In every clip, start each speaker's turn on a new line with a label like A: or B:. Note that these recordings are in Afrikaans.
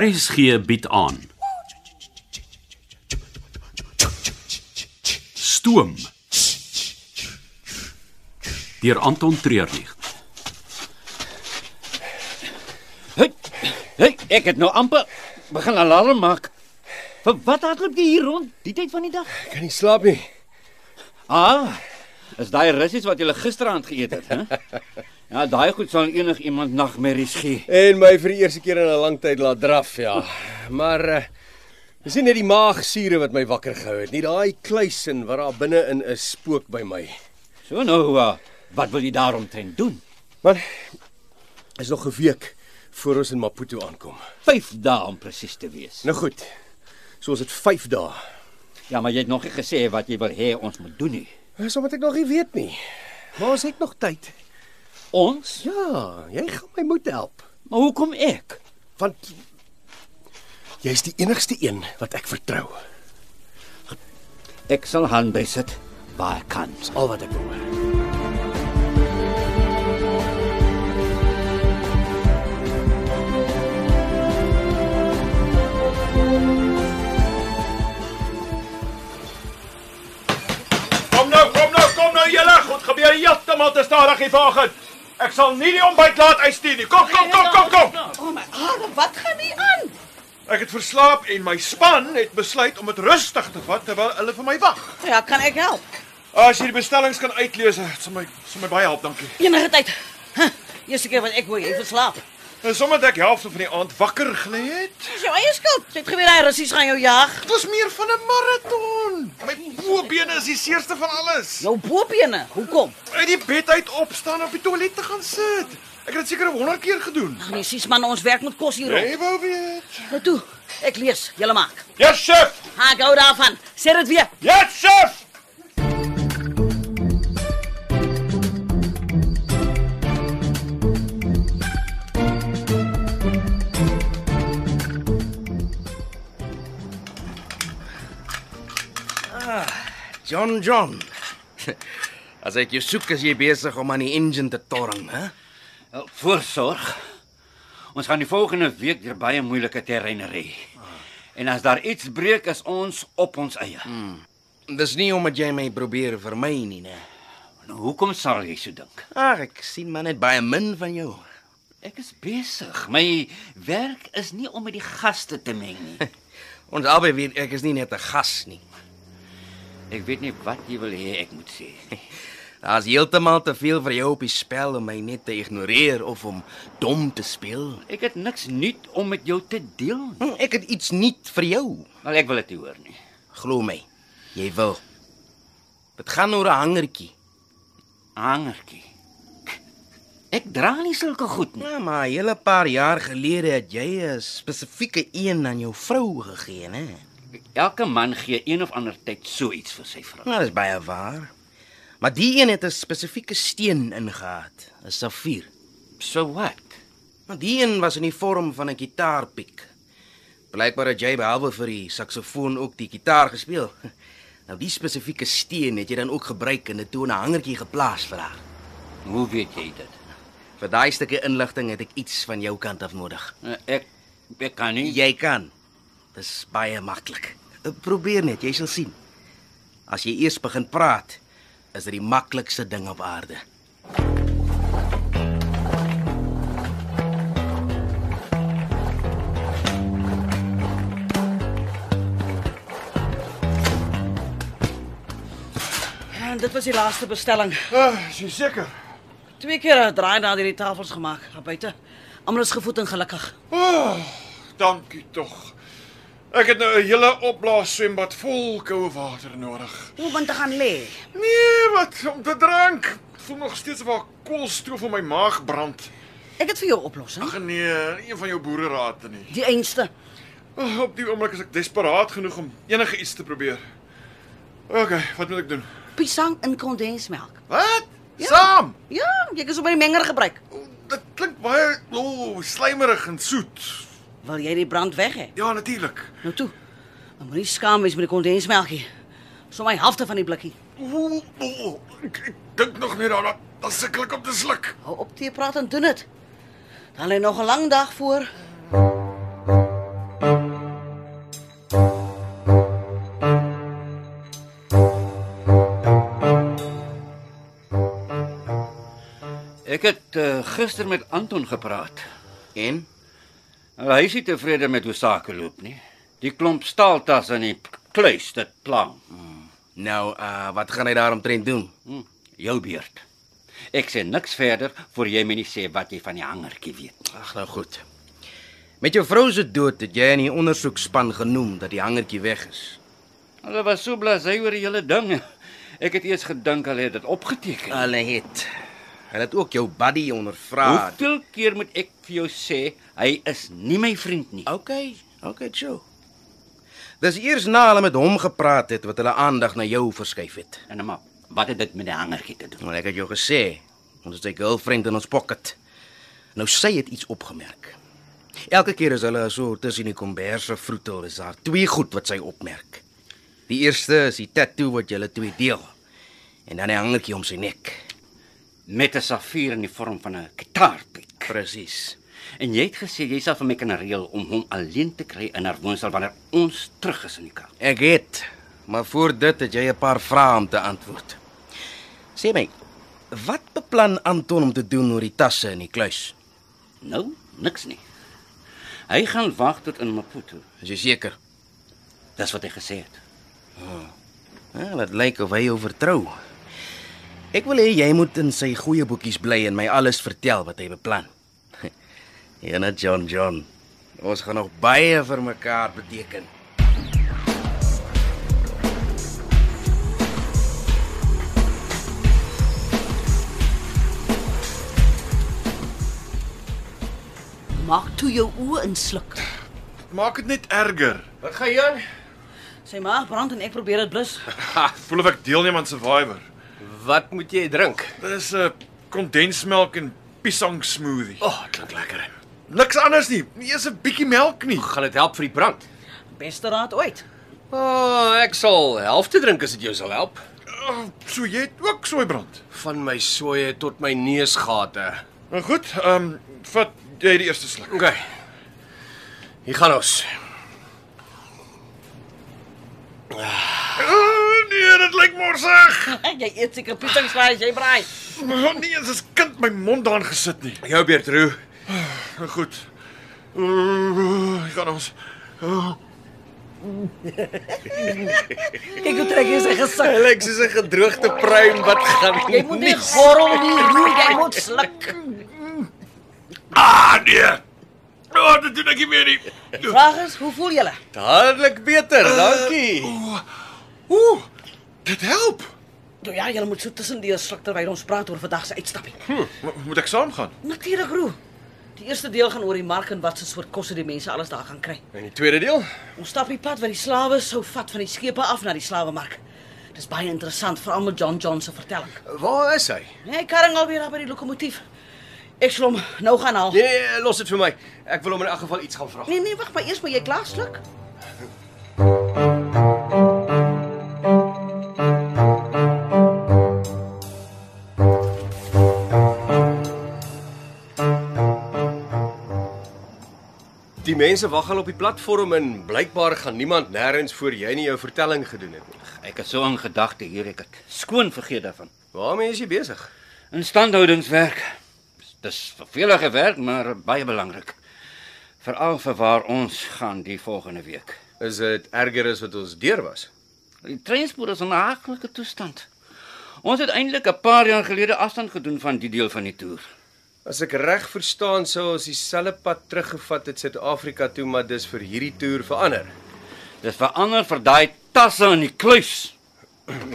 A: RSG bied aan. Stoom. Deur Anton Treurnig.
B: Hey, hey, ek het nou amper begin alarm maak. Vir wat hardloop jy hier rond die tyd van die dag?
C: Ek kan nie slaap nie.
B: Ah, is daai russies wat jy gisteraand geëet het, hè? Ja, daai goed sal enig iemand nagmerries gee.
C: En my vir die eerste keer in 'n lang tyd laat draf, ja. Maar eh, dis nie net die maagsiere wat my wakker gehou het nie, daai kluisin wat daar binne-in is spook by my.
B: So nou, uh, wat wil jy daaromtrent doen?
C: Maar is nog 'n week voor ons in Maputo aankom.
B: 5 dae om presies te wees.
C: Nou goed. So ons het 5 dae.
B: Ja, maar jy het nog nie gesê wat jy wil hê ons moet doen nie.
C: Dis omdat ek nog nie weet nie. Maar ons het nog tyd.
B: Ons?
C: Ja, jy gaan my moet help,
B: Maar hoekom ek?
C: want jy's die enigste een wat ek vertrou.
B: Ek sal hand bysit waar ek kan.
C: Dis al wat ek wil. hoor.
D: Kom nou, kom nou, kom nou julle. Goed gebeur heeltemal te stadig hier vanoggend. Ek sal nie die ontbyt laat uitstuur nie. Kom, kom, kom, kom, kom.
E: O oh my arme, wat gaan nie aan?
D: Ek het verslaap en my span het besluit om dit rustig te vat terwyl hulle vir my wag.
E: Ja, kan ek help?
D: As jy die bestellings kan uitlees, dit sal my sal my baie help, dankie.
E: Enige tyd. Huh, eerste keer wat ek hoor jy verslaap.
D: En sommer dat ek die helfte van die aand wakker gelê het.
E: Dis jou eie skuld. Jy het geweet daai russies gaan jou jag.
D: Dit was meer van 'n maraton. My bobene is die seerste van alles.
E: Jou boopbene. Hoekom?
D: Uit die bed uit opstaan op die toilet te gaan sit. Ek het dit seker 100 keer gedoen.
E: Ag nee, sies man, ons werk moet kos hier op.
D: Jy wou weet.
E: Nou toe, ek lees, julle maak.
D: Ja, chef.
E: Ha, gou daarvan. Sê dit weer.
D: Ja, chef.
F: Ah, John John. As ek jou soek, is jy besig om aan die engine te torring, hè?
B: Wel, Voorsorg. Ons gaan die volgende week deur baie moeilike terreine ry. En as daar iets breek, is ons op ons eie.
F: Dis nie omdat jy my probeer vermy nie, né?
B: Nou, hoekom sal jy so dink?
F: Ag, ek sien maar net baie min van jou.
B: Ek is besig. My werk is nie om met die gaste te meng nie.
F: Ons albei weet ek is nie net 'n gas nie.
B: Ek weet nie wat jy wil hê ek moet sê.
F: Daar's heeltemal te veel vir jou op die spel om my net te ignoreer of om dom te speel.
B: Ek het niks nuut om met jou te deel nie.
F: Hm, Ek het iets nuut vir jou,
B: Wel, ek wil dit nie hoor nie.
F: glo my. Jy wil. Dit gaan oor 'n hangertjie.
B: Hangertjie. Ek dra nie sulke goed nie.
F: Ja, maar 'n hele paar jaar gelede het jy 'n spesifieke een aan jou vrou gegee, né?
B: Elke man gee een of ander tyd so iets vir sy vrou.
F: Nou, dis baie waar. Maar die een het 'n spesifieke steen ingehaat, 'n safier.
B: So what?
F: Maar die een was in die vorm van 'n gitaarpiek. Blykbaar het jy behalwe vir die saksofoon ook die gitaar gespeel. Nou die spesifieke steen het jy dan ook gebruik en dit toe in 'n hangertjie geplaas vir haar.
B: Hoe weet jy dit?
F: Vir daai stukkie inligting het ek iets van jou kant af nodig.
B: Eh, Ek ek kan nie.
F: Jy kan. Dis baie maklik. Probeer net, jy sal sien. As jy eers begin praat, is dit die maklikste ding op aarde.
E: En dit was die laaste bestelling.
D: Uh, is jy seker?
E: Twee keer 'n draai na hierdie tafels gemaak, gaan buite. Almal is gevoed en gelukkig.
D: Oh, dankie tog. Ek het nou 'n hele opblaas swembad vol koue water nodig.
E: Hoe moet dit gaan lê?
D: Nee, wat om te drink. Voel nog steeds waar koolstof in my maag brand.
E: Ek het vir jou 'n oplossing.
D: Ag nee, nie een van jou boere raad nie.
E: Die einste.
D: Oh, op die oomblik is ek desperaat genoeg om enige iets te probeer. OK, wat moet ek doen?
E: Piesang in kondensmelk.
D: Wat? Ja. Saam.
E: Ja, jy kan sommer die menger gebruik.
D: O, Dit klink baie o, oh, slijmerig en soet.
E: Wil jy die brand weg hê?
D: Ja, natuurlik.
E: Nou toe. Dan moenie skaam wees met die kondensmelkie. Sommige die helfte van die blikkie.
D: O, o, ek, ek dink nog net daaraan. Dan sukkel ek om te sluk.
E: Hou op te praat en doen dit. Dan lê nog 'n lang dag voor.
B: eh, gister met Anton gepraat.
F: En
B: Nou, hy is nie tevrede met hoe sake loop nie. Die klomp staaltas in die kluis, dit pla hom.
F: nou,
B: eh,
F: uh wat gaan hy daaromtrent doen?
B: Hm, jou beurt. Ek sê niks verder voor jy my nie sê wat jy van die hangertjie weet.
F: Ag, nou goed. Met jou vrou se dood het jy in die ondersoekspan genoem dat die hangertjie weg is.
B: Hulle was so blasé oor die hele ding. Ek het eers gedink hulle het dit opgeteken.
F: Hulle het hulle het ook jou buddy ondervra.
B: Hoeveel keer moet ek vir jou sê hy is nie my vriend nie?
F: Okay, okay, Joe. Dis eers na hulle met hom gepraat het wat hulle aandag na jou verskuif het.
B: En Nou, maar wat het dit met die hangertjie te doen?
F: Maar ek het jou gesê, ons het 'n girlfriend in ons pocket. Nou sy het iets opgemerk. Elke keer as hulle so tussen die komberse vroetel, is daar twee goed wat sy opmerk. Die eerste is die tatoo wat julle twee deel. En dan 'n hangertjie om sy nek.
B: Met 'n safier in die vorm van 'n kitaarpiek.
F: Presies.
B: En jy het gesê jy sal vir my kan reël om hom alleen te kry in haar woonstel wanneer ons terug is in die Kaap.
F: Ek het, maar voor dit het jy 'n paar vrae om te antwoord. Sê my, wat beplan Anton om te doen oor die tasse in die kluis?
B: Nou, niks nie. Hy gaan wag tot in Maputo.
F: Is jy seker?
B: Dis wat hy gesê het.
F: Ja, dit lyk of hy jou vertrou. Ek wil hê jy moet in sy goeie boekies bly en my alles vertel wat hy beplan. Ja, net John John. Ons gaan nog baie vir mekaar beteken.
E: Maak toe jou oë insluk.
D: Maak dit net erger.
F: Wat gaan jy aan?
E: Sy maag brand en ek probeer dit blus.
D: Ha, Ah, voel of ek deelneem aan Survivor.
C: Wat moet jy drink?
D: Dis 'n kondensmelk eh, en piesang smoothie.
C: O, oh, klink lekker.
D: Niks anders nie. Nie eens 'n bietjie melk nie.
C: Gaan dit help vir die brand?
E: Beste raad ooit.
C: O, oh, ek sal helfte drink as dit jou sal help.
D: Oh, so jy het ook soeibrand.
C: Van my soeye tot my neusgate.
D: Nou goed, ehm um, vat jy die eerste sluk.
C: OK. Hier gaan ons.
D: Oh, nee, dit lyk morsig.
E: Jy eet seker pietangslaai jy braai.
D: Oh, nee, dit is kind my mond daan gesit nie.
C: Jou beurt, Roo.
D: Nou goed. Ooh, Hier gaan ons.
E: Kyk hoe trek jy sy gesig.
C: Lyk soos 'n gedroogde pruim wat gaan.
E: Oh, Jy moet nie gorrel nie, roer, jy moet sluk.
D: Ah, nee. Oh, dit doen ek nie meer nie.
E: Vraag is, hoe voel julle?
C: Dadelik beter, dankie.
D: Ooh, dit help.
E: Nou ja, julle moet so tussendeur sluk terwyl ons praat oor vandag se uitstappie.
D: Hm, mo- moet ek saamgaan?
E: Natuurlik, roer. Die eerste deel gaan oor die mark en wat se soort kosse die mense alles daar gaan kry.
C: En die tweede deel?
E: Ons stap die pad wat die slawe sou vat van die skepe af na die slawemark. Dis baie interessant, veral met John John se vertelling.
C: Waar is hy?
E: Nee, karring alweer daar by die lokomotief. Ek sal hom nou gaan haal.
C: Nee, nee, nee, los dit vir my. Ek wil hom in elk geval iets gaan vra.
E: Nee nee, wag maar eers moet jy klaar sluk.
C: Die mense wag al op die platform en blykbaar gaan niemand nêrens voor jy nie jou vertelling gedoen het nie.
B: Ek het so in gedagte hier ek het skoon vergeet daarvan.
C: Waarmee is jy besig?
B: Instandhoudingswerk. Dis vervelige werk, maar baie belangrik. Veral vir waar ons gaan die volgende week.
C: Is dit erger as wat ons deur was?
B: Die treinspoor is in 'n haaglike toestand. Ons het eintlik 'n paar jaar gelede afstand gedoen van die deel van die toer.
C: As ek reg verstaan, sou ons dieselfde pad teruggevat het Suid-Afrika toe, maar dis vir hierdie toer verander.
B: Dis verander vir daai tasse in die kluis.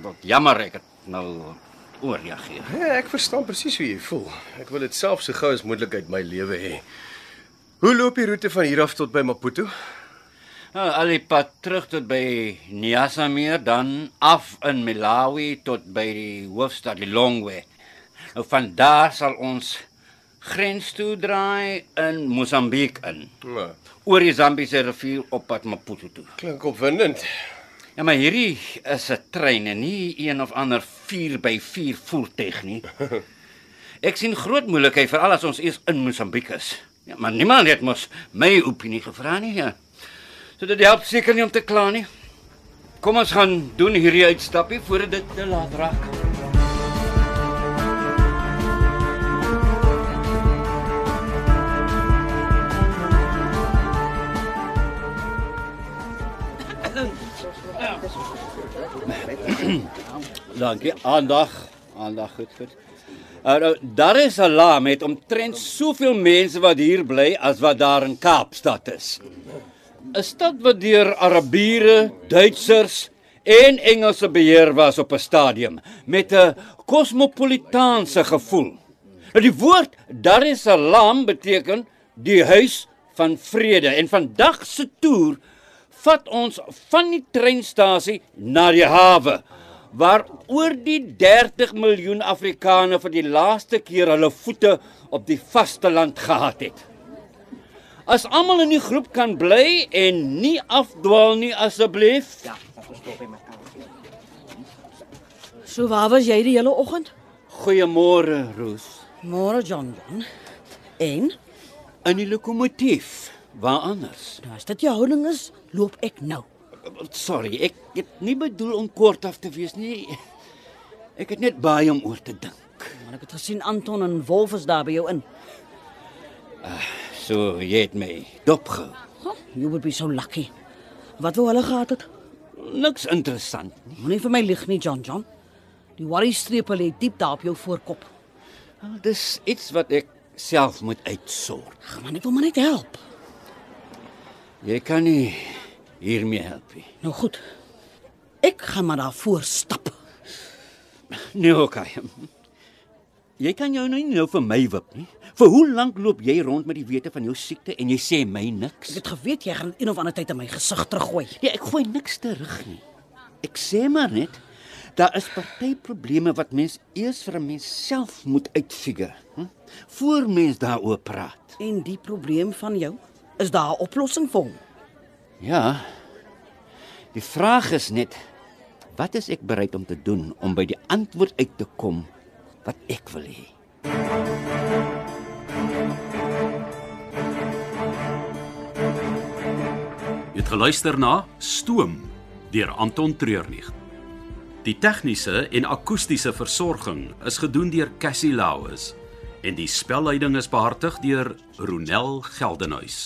B: Wat jammer ek het nou oorreageer.
C: Ja, ek verstaan presies hoe jy voel. Ek wil dit self so gou as moontlik uit my lewe hê. Hoe loop die roete van hier af tot by Maputo?
B: Nou, al die pad terug tot by Nyasameer, dan af in Malawi tot by die hoofstad Lilongwe. Nou van daar sal ons grens toe draai in Mosambiek in.
C: Nou,
B: Oor die Zambiese rivier op pad Maputo toe.
C: klink opwindend.
B: Ja, maar hierdie is 'n trein en nie een of ander 4x4 voertuig nie. Ek sien groot moeilikheid veral as ons eers in Mosambiek is. Ja, maar niemand het mos my opinie gevra nie. Ja. So dit help seker nie om te kla nie. Kom ons gaan doen hierdie uitstappie voordat dit te laat raak. Dankie. Aandag. Aandag, goed, goed. Uh, nou, daar is 'n la met omtrent soveel mense wat hier bly as wat daar in Kaapstad is. 'n Stad wat deur Arabiere, Duitsers en Engelse beheer was op 'n stadium met 'n kosmopolitaanse gevoel. Nou die woord Dar es Salaam beteken die huis van vrede en vandag se toer vat ons van die treinstasie na die hawe waar oor die 30 miljoen Afrikaners vir die laaste keer hulle voete op die vasteland gehad het. As almal in die groep kan bly en nie afdwaal nie asseblief.
E: So waar was jy die hele oggend?
B: Goeiemôre, Roos.
E: Môre John John. En
B: In die lokomotief. Waar anders?
E: nou as dit jou houding is, loop ek nou.
B: Sorry, ek het nie bedoel om kortaf te wees nie. Ek het net baie om oor te dink.
E: Want ek het gesien Anton en Wolf is daar by jou in.
B: So, jy het my dopgehou.
E: Huh? You would be so lucky. Wat wou hulle gehad het?
B: Niks interessant nie.
E: Moenie vir my lieg nie, John John. Die worry strepe lê diep daar op jou voorkop.
B: Ah, Dis iets wat ek self moet uitsort.
E: Ag man, ek wil maar net help.
B: Jy kan nie hiermee help nie.
E: Nou goed. Ek gaan maar daarvoor stap.
B: Nee, okay. Jy kan jou nou nie nou vir my wip nie. Vir hoe lank loop jy rond met die wete van jou siekte en jy sê my niks?
E: Ek het geweet jy gaan een of ander tyd in my gesig teruggooi.
B: Ja, ek gooi niks terug nie. Ek sê maar net daar is party probleme wat mens eers vir 'n mens self moet uitfigure, hm? voor mens daaroor praat.
E: En die probleem van jou, is daar 'n oplossing vir hom?
B: Ja. Die vraag is net wat is ek bereid om te doen om by die antwoord uit te kom wat ek wil hê?
A: Jy het geluister na Stoom deur Anton Treurnig. Die tegniese en akoestiese versorging is gedoen deur Cassie Lauis en die spelleiding is behartig deur Ronel Geldenhuys.